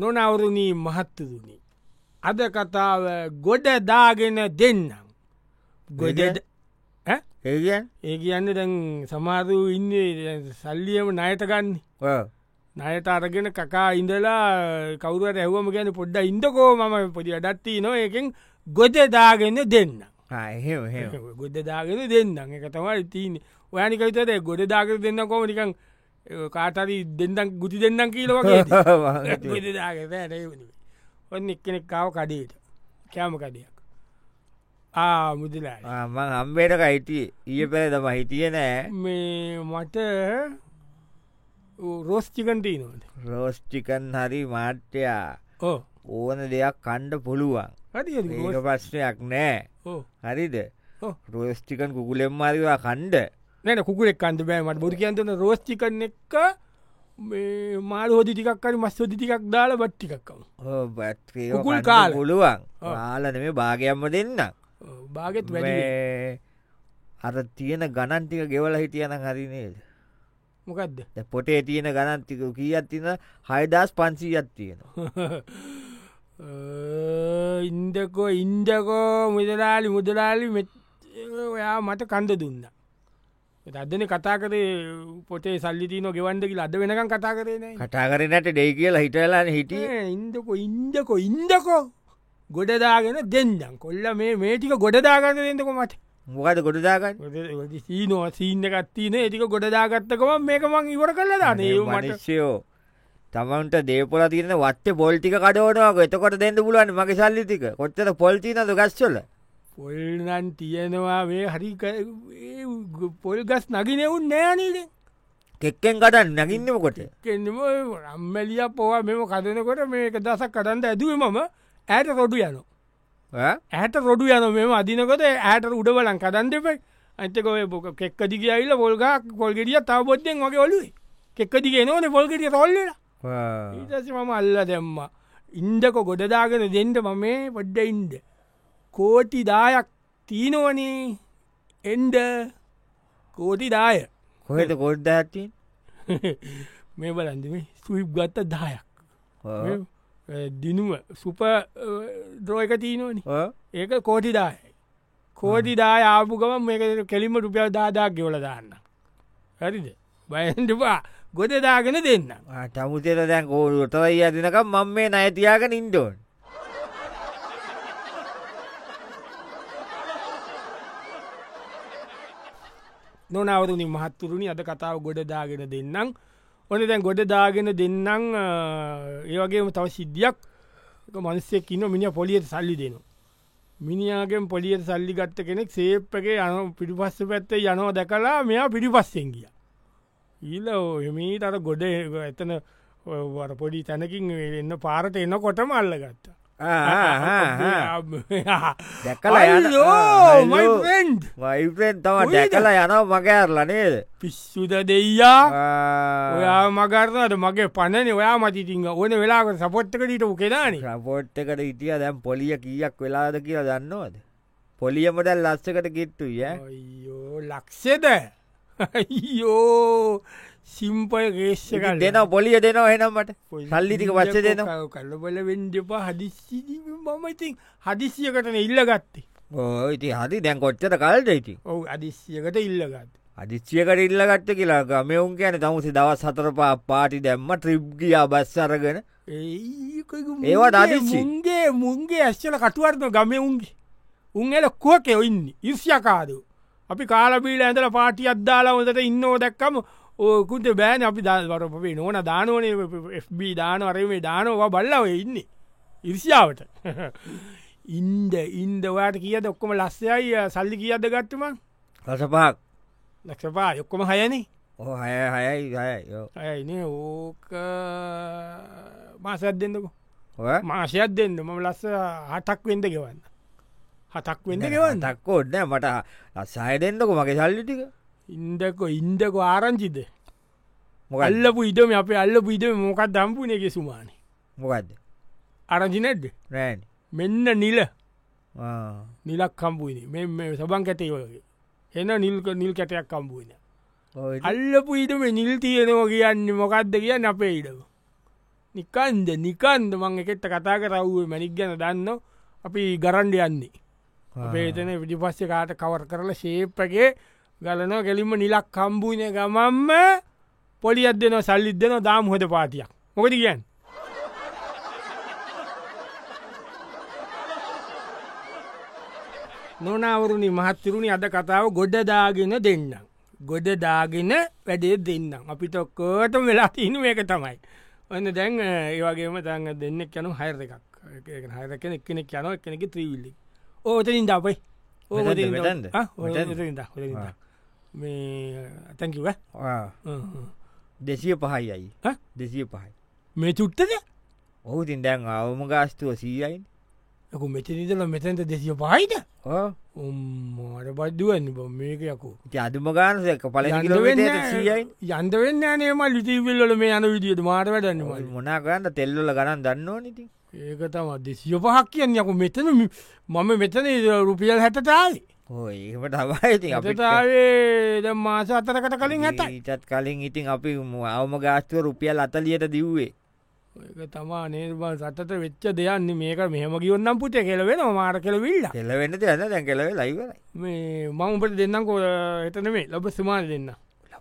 නොනවරුණී මහත්තරුණි අද කතාව ගොඩ දාගෙන දෙන්නම් ගොඩ ගොඩ? ඒගන් ඒ කියන්න දැන් සමාරූ ඉන්නේ සල්ලියම නයටගන්න නයට අරගෙන කකා ඉඳලා කවුරුවට ඇහුවම ගැන පොඩ්ඩ ඉන්දකෝ මම පොඩි අඩත්ති නො එකෙන් ගොඩ දාගෙන දෙන්න එහෙම එහෙම ගොඩ දාගෙන දෙන්නම් එක තමයි තියන ඔයනිකවිතද ගොඩ දාගෙන දෙන්න කෝමනිකං කාතරි දෙන්නම් ගුති දෙන්නම් කීලවගේ වාගතුයි. ගොඩදාගෙන ඔන්න එක්කෙනෙක් කාව කඩේට කෑම කඩයක් ආ මුදලා ආ, මං අම්බේට කයිටිය ඊය පැල තම හිටිය නෑ මේ මට රෝස්්චිකන්ටී නොට රෝස්්චිකන් හරි මාට්‍යයා ඕ ඕන දෙයක් කණ්ඩ පුළුවන් ඒක හරි ප්‍රශ්නයක් නෑ ඕ හරිද ඔව්. රෝස්්ටිකන් කුකුලෙම් මාරිවා කණ්ඩ නැන කුකුරෙක් කන්ද බෑමට බොරු කියන්තන රෝස්්චිකන එක මේ මාර හෝදි ටිකක්කරි මස් හෝදි ටිකක් දාල බට්ටිකක්කම කුකුල් කාලා. පුළුවන් ඔව්. ආලන මේ භාගයම්ම දෙන්න බාගෙත් වැඩ මේ අර තියෙන ගණන්තික ගෙවල හිටියන හරිනේද මොකක්ද දැන් පොටේ තියෙන ගණන්තික කියත් තින හයදස් පන්සීයත් තියෙනවා ඉන්දකෝ ඉන්දකෝ මුදලාලි මුදලාලි මෙත්- ඔයා මට කන්ද දුන්න. අදන කතා කරේ පොටේ සල්ලිතින ගෙවන්ඩකි අද වෙනකම් කතා කරන කටා කරනට ඩෙයි කියලා හිටලාන හිටිය ඉන්දකෝ ඉන්දකෝ ඉන්දකෝ ගොඩදාගෙන දෙන්නම් කොල්ල මේ මේටික ගොඩදාගන්න දෙන්නක මට මොකද ගොඩදාගන්න සීනෝ සීන්න ගත්තින ඒටික ගොඩදාගත්තකම මේකමං ඉවර කරලා දාන මට මනිශ්‍යයෝ තමන්ට දේපොල තියන වට පොල්ටික කඩවනක එතකොට දෙන්න පුලුවන් මගේ සල්ලිතික කොච්චර පොල්තිනද ගස්්චොල පොල්නන් තියෙනවා මේ හරි පොල් ගස් නගිනෙවුන් නෑනීද කෙක්කෙන් කටන්න නගින්නමකොට කෙන්නම රම්මැලිය පොවා මෙම කදනකොට මේක දසක් කටන්ට ඇදුව මම ඇයට රොඩු යන ඇට රොඩු යන මෙම අදිනකොට ඇයට උඩවලන් කදන්ටපයි අන්තකොේ බොක කෙක්කදිග අයිල්ල පොල්ග කොල්ගෙඩිය තව බොද්ධෙන් වගේ ඔලුයි කෙක්කදිග නෝන පොල්ගෙටිය රොල්ලලා ඊටස මම අල්ල දැම්ම ඉන්දක ගොඩදාගෙන දෙන්ට මම මේ පොඩ්ඩ ඉන්ඩ කෝටි දායක් තිීනවනේ එන්ඩ කෝටි දාය කොහෙට කොඩ්ඩ ඇත්තින් මේ බලන්දමේ ස්විප් ගත්ත දායක් මේ, අ, දිනුව සුප ද්‍රෝයක තිීනවනි ඒක කෝටිදාය කෝටිදාය ආපු ගම මේක කෙලිම රුපියල් දාදාක් ගෙවල දාන්න හරිද බයන්ටපා ගොඩදාගෙන දෙන්න තමුතෙර දැන් කෝරුටවයි අදිනක මං මේ නයතියාගෙන ඉන්ඩෝන් නොනවරුණි මහත්තුරුණි අද කතාව ගොඩදාගෙන දෙන්නම් ඕන දැන් ගොඩදාගෙන දෙන්නම් ඒවගේ තව සිද්ධියක් මනස්සෙක් ඉන්න මිනි පොලියට සල්ලි දෙනවා. මිනිියගෙන් පොලියට සල්ලි ගත්ත කෙනෙක් සේප්පගේ යන පිටිපස්ස පැත්තේ යනවා දැකලා මෙයා පිටිපස්සෙන් ගිය. ඊල එමීට අර ගොඩ එතන වර පොඩි තැනකින් එන්න පාරට එන්න කොට මල්ල ගත්ත. දැකලා යන- ආ, යෝ hello. මයිෙන්ඩ් වයිපෙන් තම කොහෙද? දැකලා යනව මගඇරලනේද පිස්සුද දෙයියා ඔයා මගරනට මගේ පණනේ ඔයා මතිතිංහ ඕන වෙලාක සපොට්ක ට උකෙදාන රපෝට් එකට ඉටිය දැම් පොලිය කියක් වෙලාද කියලා දන්නවද පොලියමට ලස්සකට කිට්ටුය අයෝ ලක්ෂෙද අයෝ සිම්පල් ගේේෂක දෙන පොලිය දෙනවා හෙනම්මට සල්ලිතික වච්ච දෙන කලබල වෙන්ඩපා හදිසි මම ඉතින් හදිසියකටන ඉල්ල ගත්තේ ඉති හරි දැන් කොච්චට කල්ද ඉති ඔවු අදිශ්‍යකට ඉල්ලගත් අධිච්චියකට ඉල්ලගත්ත කියලා ගමයවුන් කියන තමුසේ දවස් සතරපා පාටි දැම්ම ට්‍රිප්ගිය බස් අරගෙන ඒවට අදිස්සි. මුන්ගේ මුන්ගේ ඇශ්චල කටුවර්න ගම උන්ගේ උන් එල කුවකෙ ඉන්න ඉස්්‍යකාදු අපි කාලබීල ඇඳල පාටි අද්දාලා හොඳට ඉන්න දැක්කම ඕකුට බෑන අපි දල්වරපේ නොන දානුවනේ FB දාන වරේ දානවා බල්ලව ඉන්න ඉරිසිාවට ඉන්ද ඉන්දවාට කියද ඔක්කොම ලස්සයයි අ, සල්ලි කියද ගත්තම රසපහක් ලක්ෂපා යොක්කොම හයනේ ඕ හය හයයි හයයි ඔව්. ඇයිනේ ඕක මාසත් දෙන්නකු ඔය මාසයක් දෙන්න මම ලස්ස හටක් වෙන්ද ගෙවන්න හතක් වෙන්ද ගෙවන්න දක්කෝ නෑ මට ලස්සාය දෙන්නකු මගේ සල්ලිටික ඉන්දකො ඉන්දක ආරංචිද මොකල් අල්ලපු ඉඩම අප අල්ලපු ඉඩම මොකක් දම්පුන එක සුමානේ මොකක්ද අරජිනැඩ්ඩ නෑන් මෙන්න නිල නිලක් කම්පුුවන මෙ සබන් කැටේ වගේ එන නිල්ක නිල් කැටයක් කම්පුුවන අල්ලපු ඉටම නිල් තියෙනවා කියන්න මොකක්ද කියන්න අපේ ඉඩම නිකන්ද නිකන්ද මං එකෙත්ත කතා කරව්ුව මැනික් ගැන දන්න අපි ගරන්ඩ යන්නේ අපේතන විඩි පස්සෙ කාට කවර කරලා ශේප්පගේ ගලනෝ කෙලින්ම නිලක් කම්බුයින ගමම්ම පොලිියත් දෙන සල්ලිත් දෙන දාම් හොද පාතියක් මොකද කියන් නොනවරුණි මහත්තරුණි අද කතාව ගොඩදාගෙන දෙන්නම්. ගොඩදාගෙන වැඩේ දෙන්නම්. අපිට ඔක්කෝට වෙලා තින මේක තමයි. ඔන්න දැන් ඒවගේම තැන් දෙන්න යනු හයර එකක් හයර කෙන එකනෙක් යන එකනෙක ත්‍රීවිල්ලි ඕතනින් දපයි මෙතෙන්ද, මෙතෙන්ද? මේ ඇතැකිව දෙසිය පහයි අයි ඈ? දෙසිය පහයි මේ චුට්ටද ඔහුතින් දැන් අවම ගාස්තුව සීයයින් යකු මෙතනිදල මෙතැන්ට දෙසිය පහයිද උම්මට බද්දුවන්න බ මේක යකු අදුම ගානසක පල සීයයි යන්ද වෙන්න නේම ලිතිවිල්ල මේ යන විදිියට මාට වැඩන්නවල මොනාගන්න තෙල්ලොල ගණන් දන්නවා නති ඒක තම දෙසිය පහක් කියන්න යකු මෙතන මි- මම මෙතන රුපියල් හැටටාලි හෝ ඒම ටබයිති ඇතතාවේ ද මාස අතරකට කලින් ඇතයි ඊටත් කලින් ඉතින් අපි ම- අවම ගාස්තුව රුපියල් අතලියට දිව්වේ ඒක තමා නිර්බල් සතට වෙච්ච දෙයන්නේ මේක මෙහම ගියවන්නම් පුට කෙලවෙන මාර කෙලවිල්ල කෙලවෙන්න යන්න දැන් කෙලව ලයිවරයි මේ මංපට දෙන්නම් කෝ එතනමේ ලබ සුමාන දෙන්න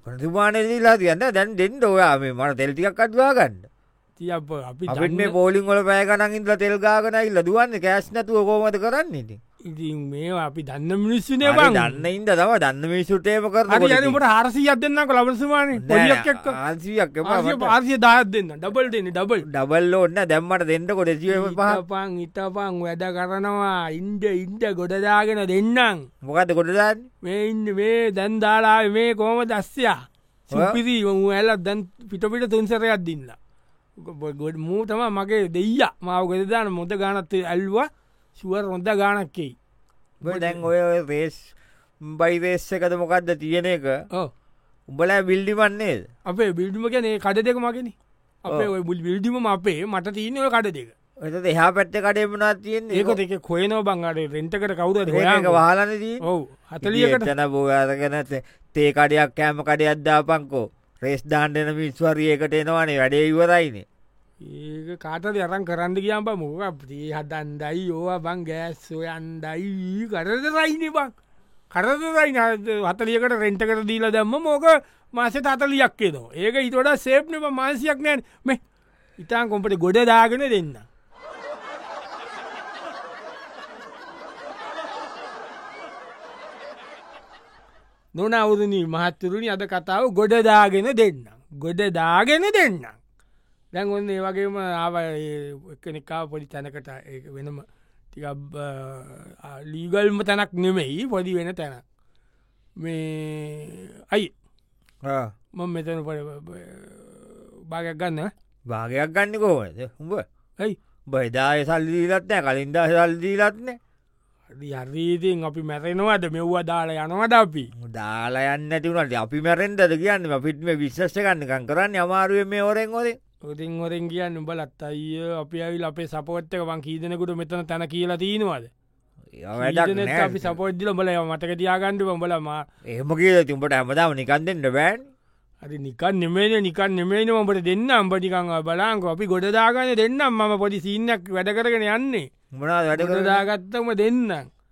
ලපනතුමානදීලා තියන්න දැන් දෙන්න ඔයා මේ මට තෙල්ටිකක් අත්වා ගන්න ති අප අපි අපිත් මේ දන්න- පෝලිින් වල පෑගනන් ඉදල තෙල්ගාගනයිල්ල දුවන්න කෑස් නැතුව කෝමත කරන්න ඉති ඉතින් මේ අපි දන්න මිනිස්සුනය බං දන්න ඉද තම දන්න මිසුටේම කරන්න අනිට හරසි අත් දෙන්නක ලබ සුමාන පොලියක් ආන්සියක් පාර්සිය දාත් දෙන්න ඩබල් දෙන්න ඩබල් ඩබල් ඔන්න දැම්මට දෙන්නකොට ජීව පහ ඉතපං ඉතපං වැඩ කරනවා ඉන්ඩ ඉන්ඩ ගොඩදාගෙන දෙන්නම් මොකද කොටදන්න මේ ඉන්න මේ දැන් දාලා මේ කොහම දස්සයා සපිරී ඇල්ල දැන් පිටපිට තුන්සරයක් දින්න ගොඩ මූ තම මගේ දෙයිය මාව ගෙදදාන මොද ගානත්ත ඇල්වා ශුවර් රොද ගානක්කෙයි දැන් ඔය ඔය රේස් බයිරේස් එකද මොකක්ද තියෙන එක ඕ උඹලා බිල්ඩිමන්නේද අපේ බිල්ඩිම ගැනේ කඩ දෙක මගෙන අපේ ඔය බුල් බිල්ඩිම අපේ මට තියනව කඩ දෙක එත එහා පැත්ත කඩේමනා තියන්නේ ඒක දෙක කොයනෝ බංගට රෙන්ටකට කවුද ඒක හොයා වහලන දී ඔවු හතලියකට තන බෝයාරගෙන තේ කඩයක් කෑම කඩයක් දාපංකෝ රේස් දාන්ඩන මිස්වරියකට එනවානේ වැඩේ ඉවරයිනේ ඒක කාටද අරන් කරන්න කියම්බ මොක ප්‍රී හදන්ඩයි ඕවා බං ගෑස්සෝ යන්ඩයි කරද රයින බං කරද රයි හතලියකට රෙන්ටකට දීලා දැම්ම මෝක මාසෙ තතලියක්කේ දෝ ඒක ඉතොට සේප්නම මාසියක් නෑන් මේ ඉතාන් කොම්පට ගොඩ දාගෙන දෙන්න නොන අවුරණී මහත්තුරුණි අද කතාව ගොඩදාගෙන දෙන්න ගොඩදාගෙන දෙන්නම් දැන් ඔන්න ඒ වගේම ආව එකනෙකා පොඩි තැනකට ඒක වෙනම ටිකක් බ- ලීගල්ම තැනක් නෙමෙයි පොඩි වෙන තැන මේ අයි මං මෙතන පොඩ භාගයක් ගන්න භාගයක් ගන්න කෝද උඹ ඇයි බයිදාය සල්දීලත්නෑ කලින්දා සල්දීලත්නෑ හරිීතින් අපි මැරෙනවාද මෙව්වා දාලා යනවද අපි දාලා යන්න ඇතිවුණට අපි මැරෙන්ටද කියන්න පිටම විශ්ෂ කන්නකන් කරන්න අමාරුවෙන් මේ ඔරෙන් ඔරේ ඉතින් හොරෙන් කියන්න උඹලත් අයිය අපි ඇවිල් අපේ සපෝට්ක වන් කීදනකුට මෙතන තැන කියලා තියෙනවාද කීදනෙත් අපි වැඩක් සපෝද්දිල බල මතක තියාගණ්ඩ බඹලමා එහම කියල තිඹට ඇමදාම නිකන් දෙන්න බෑන් හරි නිකන් නෙමේන නිකන් නෙමේන මට දෙන්න අම්පටිකං බලාංක අපි ගොඩදාගන්න දෙන්නම් මම පොඩි සිීනක් වැඩකරගෙන යන්නේ මොනා වැඩ ගොඩදාගත්තම දෙන්න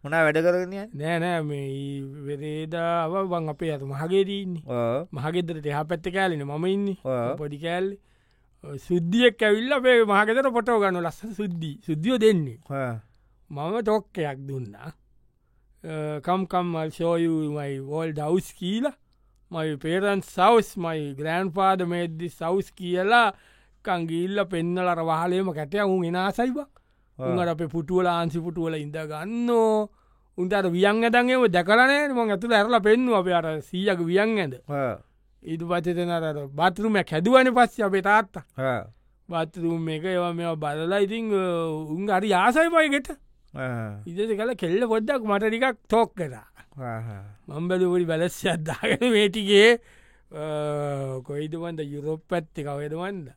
මොනා වැඩ කරනය නෑනෑ මේ වෙරේදාව බං අපේ ඇතු මහගේරීන්නේ මහගෙදර එහ පැත්ත කෑලෙන මම ඉන්න ඔව්. පොඩි කෑල්ලි සුද්ධියක් ඇවිල්ල අපේ මහගෙතර පොටෝ ගන්න ලස්ස සුද්ධි සුද්ධියෝ දෙන්නේ මම තොක්කයක් දුන්නා කම්කම්මල් ශෝයුමයි වෝල් ඩවස් කියීලා මයි පේරන් සවස් මයි ග්‍රෑන්් පාද මේද්දි සවස් කියලා කංගිල්ල පෙන්නලර වහලේම කැටය උන් එනාසයිබ උන්ට අපේ පුටුවල ආන්සි පුටුවල ඉඳ ගන්නෝ උන්ට වියන් ඇතන්ගේම දැකරනෑ මං ඇතුළ ඇරල පෙන්නු අප අර සීයක වියන් ඇද ඉදු පචතනර බතුරුමයක් හැදුවන පස්ස අපේ තාත්තා බත්තුරුම් එක ඒවා මෙ බලලා ඉතිං උන් හරි ආසයිපයගෙට ඉදස කල කෙල්ල පොද්දක් මටටිකක් තෝක් කරා මම්බලපුරි බැලස් අද්දාගෙන වේටිගේ කොයිතුවන්ද යුරෝප් පැත්ති කවේතුවන්ද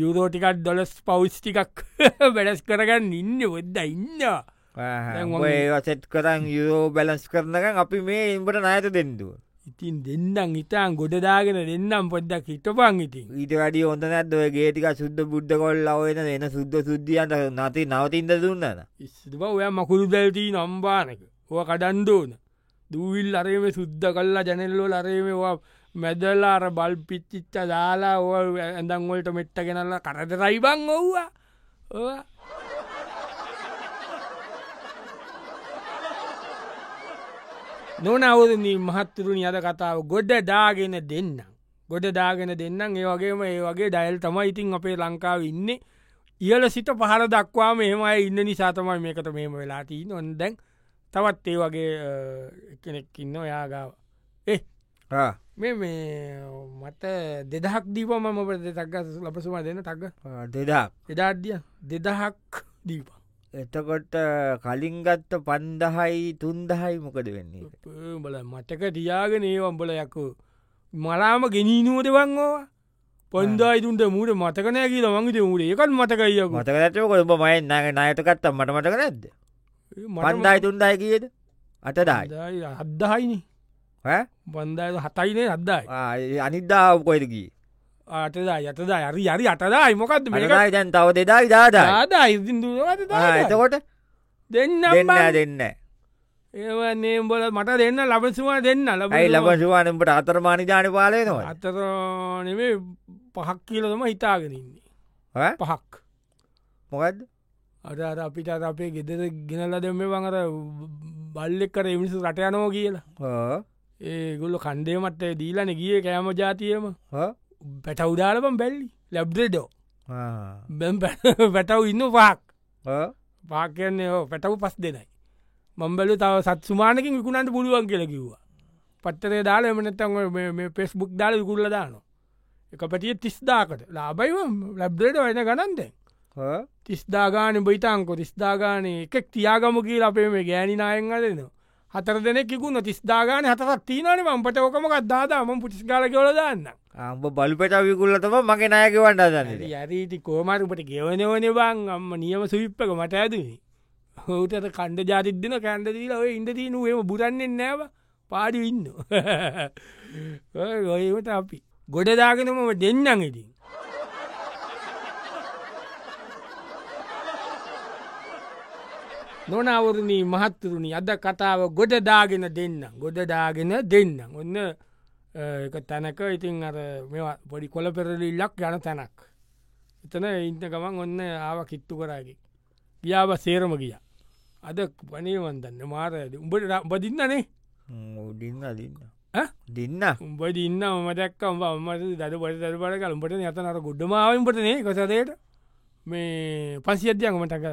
යුරෝටිකත් ඩොලස් පෞස්්ටිකක් වැඩස් කරගන්න ඉන්න වෙොද්ද ඉන්න ඒ සෙට් කරන් යුරෝ බැලස් කරනකන් අපි මේ ඉම්බට නායත දෙෙන්දුව ඉතින් දෙන්නම් ඉතාන් ගොඩදාගෙන දෙන්නම් පොඩ්ඩක් හිටපන් ඉතින් ඊට වැඩි හොඳ නැද්ද ඔය ගේටික සුද්ද බුද්ධ කොල්ල ඔයන එන සුද්ද සුද්ධියන්ට නති නවතින්ද දුන්නන ඉස්සතුව ඔය මකුරු දැල්ටී නම්බානක ඕ කඩන්ඩෝන දූවිල් අරේම සුද්ධ කල්ලා ජනෙල්ලෝ අරේමවා මැදල්ලා අර බල් පිච්චිච්ච දාලා ඕ ඇඳංවලට මෙට්ට ගෙනල්ලා කරද රයිබං ඔව්වා ඕවා නොනවරනී මහත්තුරුණි අද කතාව ගොඩ දාගෙන දෙන්නම්. ගොඩ දාගෙන දෙන්නම් ඒ වගේම ඒ වගේ ඩයිල් තමයි ඉතින් අපේ ලංකාව ඉන්නේ ඉහල සිට පහර දක්වා මෙමයි ඉන්න නිසා තමයි මේකට මෙම වෙලාටී නොන්දැන් තවත් ඒ වගේ කෙනෙක් ඉන්න ඔයාගාව ඒ මේ මේ මට දෙදහක් දීපම මොට දෙතක්ග ලපසුම දෙන්න තක්ග දෙදා එදාඩිය දෙදහක් දීපා එතකොට කලින් ගත්ත පන්දහයි තුන්දහයි මොකද වෙන්නේ බල මටක තියාගෙන ඒවම්බල යකු මලාම ගෙනීනුවටවන් ඕවා පොන්දායි තුන්ට මූට මතකනෑ කියල මංගිට මූට එකත් මතකයියක මතක නැතව කොබ මයි නග නයටකත්තම් මට මටක නැද්ද පන්දායි තුන්දායි කියද අටදායි අද්දායින බන්ධය හතයිනේ අද්දායි අනිද්දාකොයටකී ආටදා යතදා යරි යරි අටදායි මොකක්ද මේ මටයි දැන් තව දෙදායි දාදා ආදා ඉදිදුවට එතකොට දෙන්න දෙන්න දෙන්න ඒවනේම්බල මට දෙන්න ලබසවා දෙන්න ඇයි ලබශවානට අතරමානි ජාන පාලයනවා අතරනෙවේ පහක් කියලතම හිතාගෙනන්නේ පහක් මොකක්ද අද අර අපිට අර අපේ ගෙදර ගෙනල්ල දෙම වඟර බල්ලෙක් කර මිනිසු රටයනෝ කියලා ඒගොල්ල කණ්ඩේ මට දීලන ගිය කෑම ජාතියම පැට උදාලපම් බැල්ලි ලැබ්දෙඩෝ බැම් පැටව ඉන්න පාක් පාකයන්නේ පැටව පස් දෙනයි මම්බල තව සත් සුමානකින් විකුණන්ට පුළුවන් කියල කිව්වා පත්තරේ දාල එමනත්තන් පෙස්බුක් දාල විකුල්ල දානවා එක පැටිය තිස්දාකට ලාබයිව ලැබ්දට වෙන ගණන්ද තිස්දාගාන බයිතංකො තිස්දාගානය එකෙක් තියාගම කියල අපේ මේ ගෑනි නායෙන් අදනවා හතර දෙනෙකුුණ තිස්දාගාන හතත් තිීනන මම්පට ඕකමක් දාදාම පුටිස්ගාල කියොල දන්න අම්බ බලපට විකුල්ලතම මගේ නායකවන්න දන්න යරීටි කෝමරුපට ගෙවනවන බං අම්ම නියම සුවිප්පක මට ඇදනි හෝටට කණ්ඩ ජාතිත් දෙන කැන්ඩදීල ඔය ඉන්දදී නුවම බුරන්නේ නෑව පාඩි ඉන්න ගොයවට අපි ගොඩදාගෙනමම දෙන්නම් ඉතින් නොනවරණී මහත්තුරුණි අද කතාව ගොඩදාගෙන දෙන්න ගොඩදාගෙන දෙන්න ඔන්න එක තැනක ඉතින් අර මෙවා පොඩි කොල පෙරලිල්ලක් යන තැනක් එතන ඉන්න ගමන් ඔන්න ආව කිත්තු කරාග ගියාව සේරම ගිය අද පනේවන්දන්න මාරද උඹට ර- උඹ දින්නනේ ඩින්න දින්න ඈ? දින්න උඹ දින්න ම දැක්කම් ම දඩ පොඩි දර පට කලම්ට යතනර ගොඩ්ඩමාවම්පටනේ කොසදේට මේ පන්සි අධ්‍යයක්මටක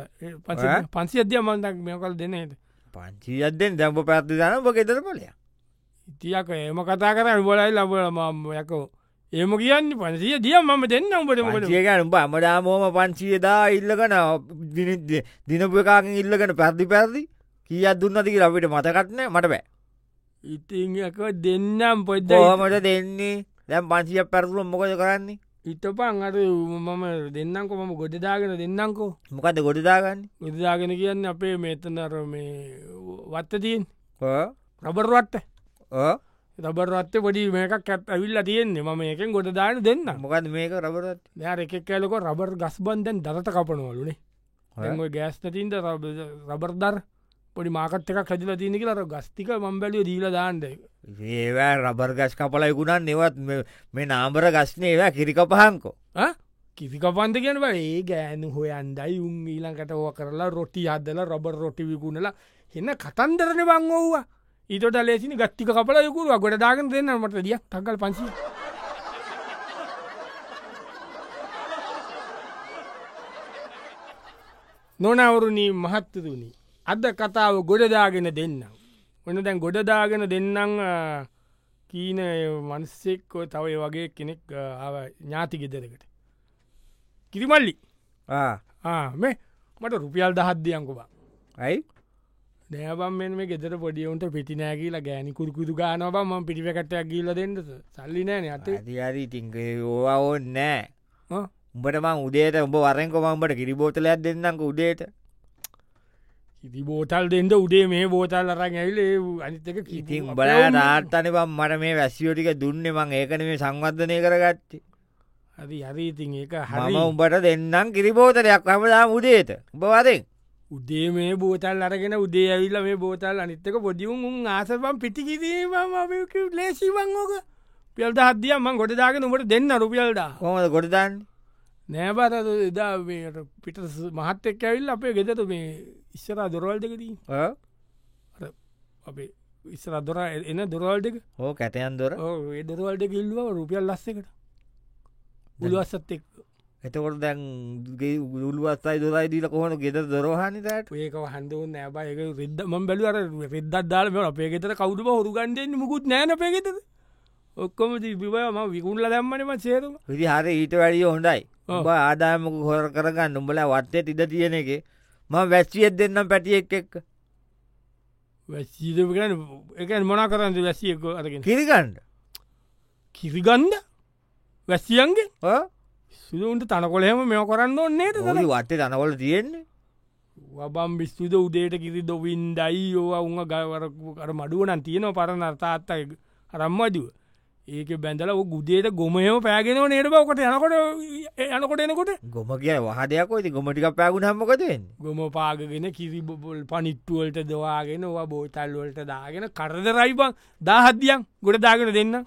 පන්සි අධ්‍යයමන්තක් මෙකල් දෙන ඇත පංචීයත්දෙන් දැම්ප පැත්ති දන ගෙතර පලය ඉතියක ඒම කතා කර බොලයි ලබල මම යකෝ ඒම කියන්න පන්සිය දිය මම දෙන්න උඹට මොට ඒකන අමඩාමෝම පංචියදා ඉල්ලගන දින- දිනපුකාකින් ඉල්ලගෙන පැත්ති පැරදි කියත් දුන්නතික අපිට මතකත්නෑ මට බෑ ඉතික දෙන්නම් පොද්ද දෝමට දෙන්නේ දැම් පංචිය පැරතුලම් මොකද කරන්නේ ඉතපන් අර මම දෙන්නකෝ මම ගොඩදාගෙන දෙන්නකෝ මොකද ගොඩදාගන්න ගොඩදාගෙන කියන්න අපේ මේතනර මේ වත්ත තියෙන් රබර්වත්ත රබරත්ත පොඩි මේකක් ඇත් ඇවිල්ල තියෙන්නේ ම එකෙන් ගොඩදාන දෙන්න මොකද මේක රබරත් මෙයා එකක් කෑලකො රබර් ගස් බන්දැන් දරත කපනවලුනේ ඇ ගෑස්තතින්ට රබර්දර් පොඩි මාකට් එකක් හැදිල තියනෙක අර ගස්තික මම්බැලිය දීල දාන්ද ඒවෑ රබර් ගස් කපලයි ගුණන් නිවත් මෙ- මේ නාම්බර ගස්නය ඒවා කිරිකපහන්කෝ කිසිකපන්ද කියන බල ඒ ගෑනු හොය අන්ඩයි උන් ඊලකට ඕ කරලා රොටි අදල රබර් රොටි විකුණලා එන්න කතන්දරන බං ඕවා ඊට ලේසිනි ගත්තික කපල යකුරුව ගොඩදාගන් දෙන්න මට දිය තකල් පංචි නොනවරුණී මහත්තතුනි අද කතාව ගොඩදාගෙන දෙන්නම් ඔන්න දැන් ගොඩදාගෙන දෙන්නම් අ, කීන මනස්සෙක් ඔය තව ඒ වගේ කෙනෙක් අ, ආව ඥාති ගෙදරකට කිරිමල්ලි ආ, ආ, මේ මට රුපියල් දහද්දියංකුවා ඇයි නෑබම් මෙ මේ ගෙදර පොඩියවුන්ට පිටිනෑ කියලා ගෑනිකුරකුතු ගානබ ම පිටිකටයක් ගීල දෙන්නද සල්ලි නෑන අතේ අධිරි තිංකේ ඕවා ඕන්න නෑ ආ. උඹට මං උදේට උඹ වරෙන් කොමම්බට කිරිබෝතලයක් දෙන්නක උඩේට ඉති බෝතල් දෙෙන්ට උඩේ මේ බෝතල් අරන් ඇවිලේ අනිතක ඉතින් බලා රාර්ථනපම් මට මේ වැස්සියෝටික දුන්න මං ඒකන මේ සංවර්ධනය කරගත්ත හරි හරි ඉතින් ඒක හම හරි උඹට දෙන්නම් කිරිපෝතරයක් හමදා උදේත උබවදෙන් උදේ මේ බෝතල් අරගෙන උදේ ඇවිල්ල මේ බෝතල් අනිත්තක පොඩිවුන් උන් ආසපම් පිටිකිරීම ලේසිවන් ඕක පියල්ට හදියම්ම ගොඩදාගෙන උට දෙන්න රුපියල්ඩා කොමද ගොඩදන්න නෑබර එදා මේ පිට මහත් එක් ඇවිල් අපේ ගෙදතු මේ ඉස්සරා දොරවල් දෙකදී අපේ ඉස්සර දොර එන දොරවල් දෙක හෝ කැටයන් දොර දොරවල් දෙක ඉල්ලුව රුපියල් ලස්සකට බුලුවස්සත් එක් එතකොට දැන් ගුළුවස්සයි දොරයි දීල කොහොන ගෙද දොරහනිතට ඒක හන්දුව නෑබා එක රිද්දම බැලුවර රිද්දත් දාලම අපේ ගෙතර කවුඩුම හොරු ගන්ඩෙන් මුකුත් නෑන පේගෙත ඔක්කොම තිබිබයම විකුල්ල දැම්මනම සේරම විදි හරි ඊට වැඩිය හොඳයි ඔව්. ඔබ ආදායමක හොර කරගන්න උඹල වත්තේ ඉඩ තියෙන එක ම වැස්සිියත් දෙන්නම් පැටියෙක් එක් වැස්සීදකන එක මොනා කරන්න වැස්සියක අරගෙන කිරිකණ්ඩ කිරිගන්ද වැස්සියන්ගේ ඕ සුදුන්ට තනකොලහෙම මෙෝ කරන්න ඕන්නේට තන ඔලි වටේ තනකොල තියෙන්නේ වබම් බිස්තුද උදේට කිසි දොවින් දයි ඕවා උන් ගවරකු කර මඩුවනන් තියෙනව පරණ අර්තාත්ත රම්මදුව ඒක බැඳල ගුදේට ගොමයම පෑගෙනව නේට බවකට යනකොට යනකොට එනකොට ගොම කිය වහදයක් ෝති ගොමටික් පැගුණ හම්මකතෙන් ගොම පාගගෙන කිරිබොල් පනිට්ටුවලට දවාගෙන වා බෝතල්වලට දාගෙන කරදරයිබං දාහද්දියන් ගොඩ දාගෙන දෙන්න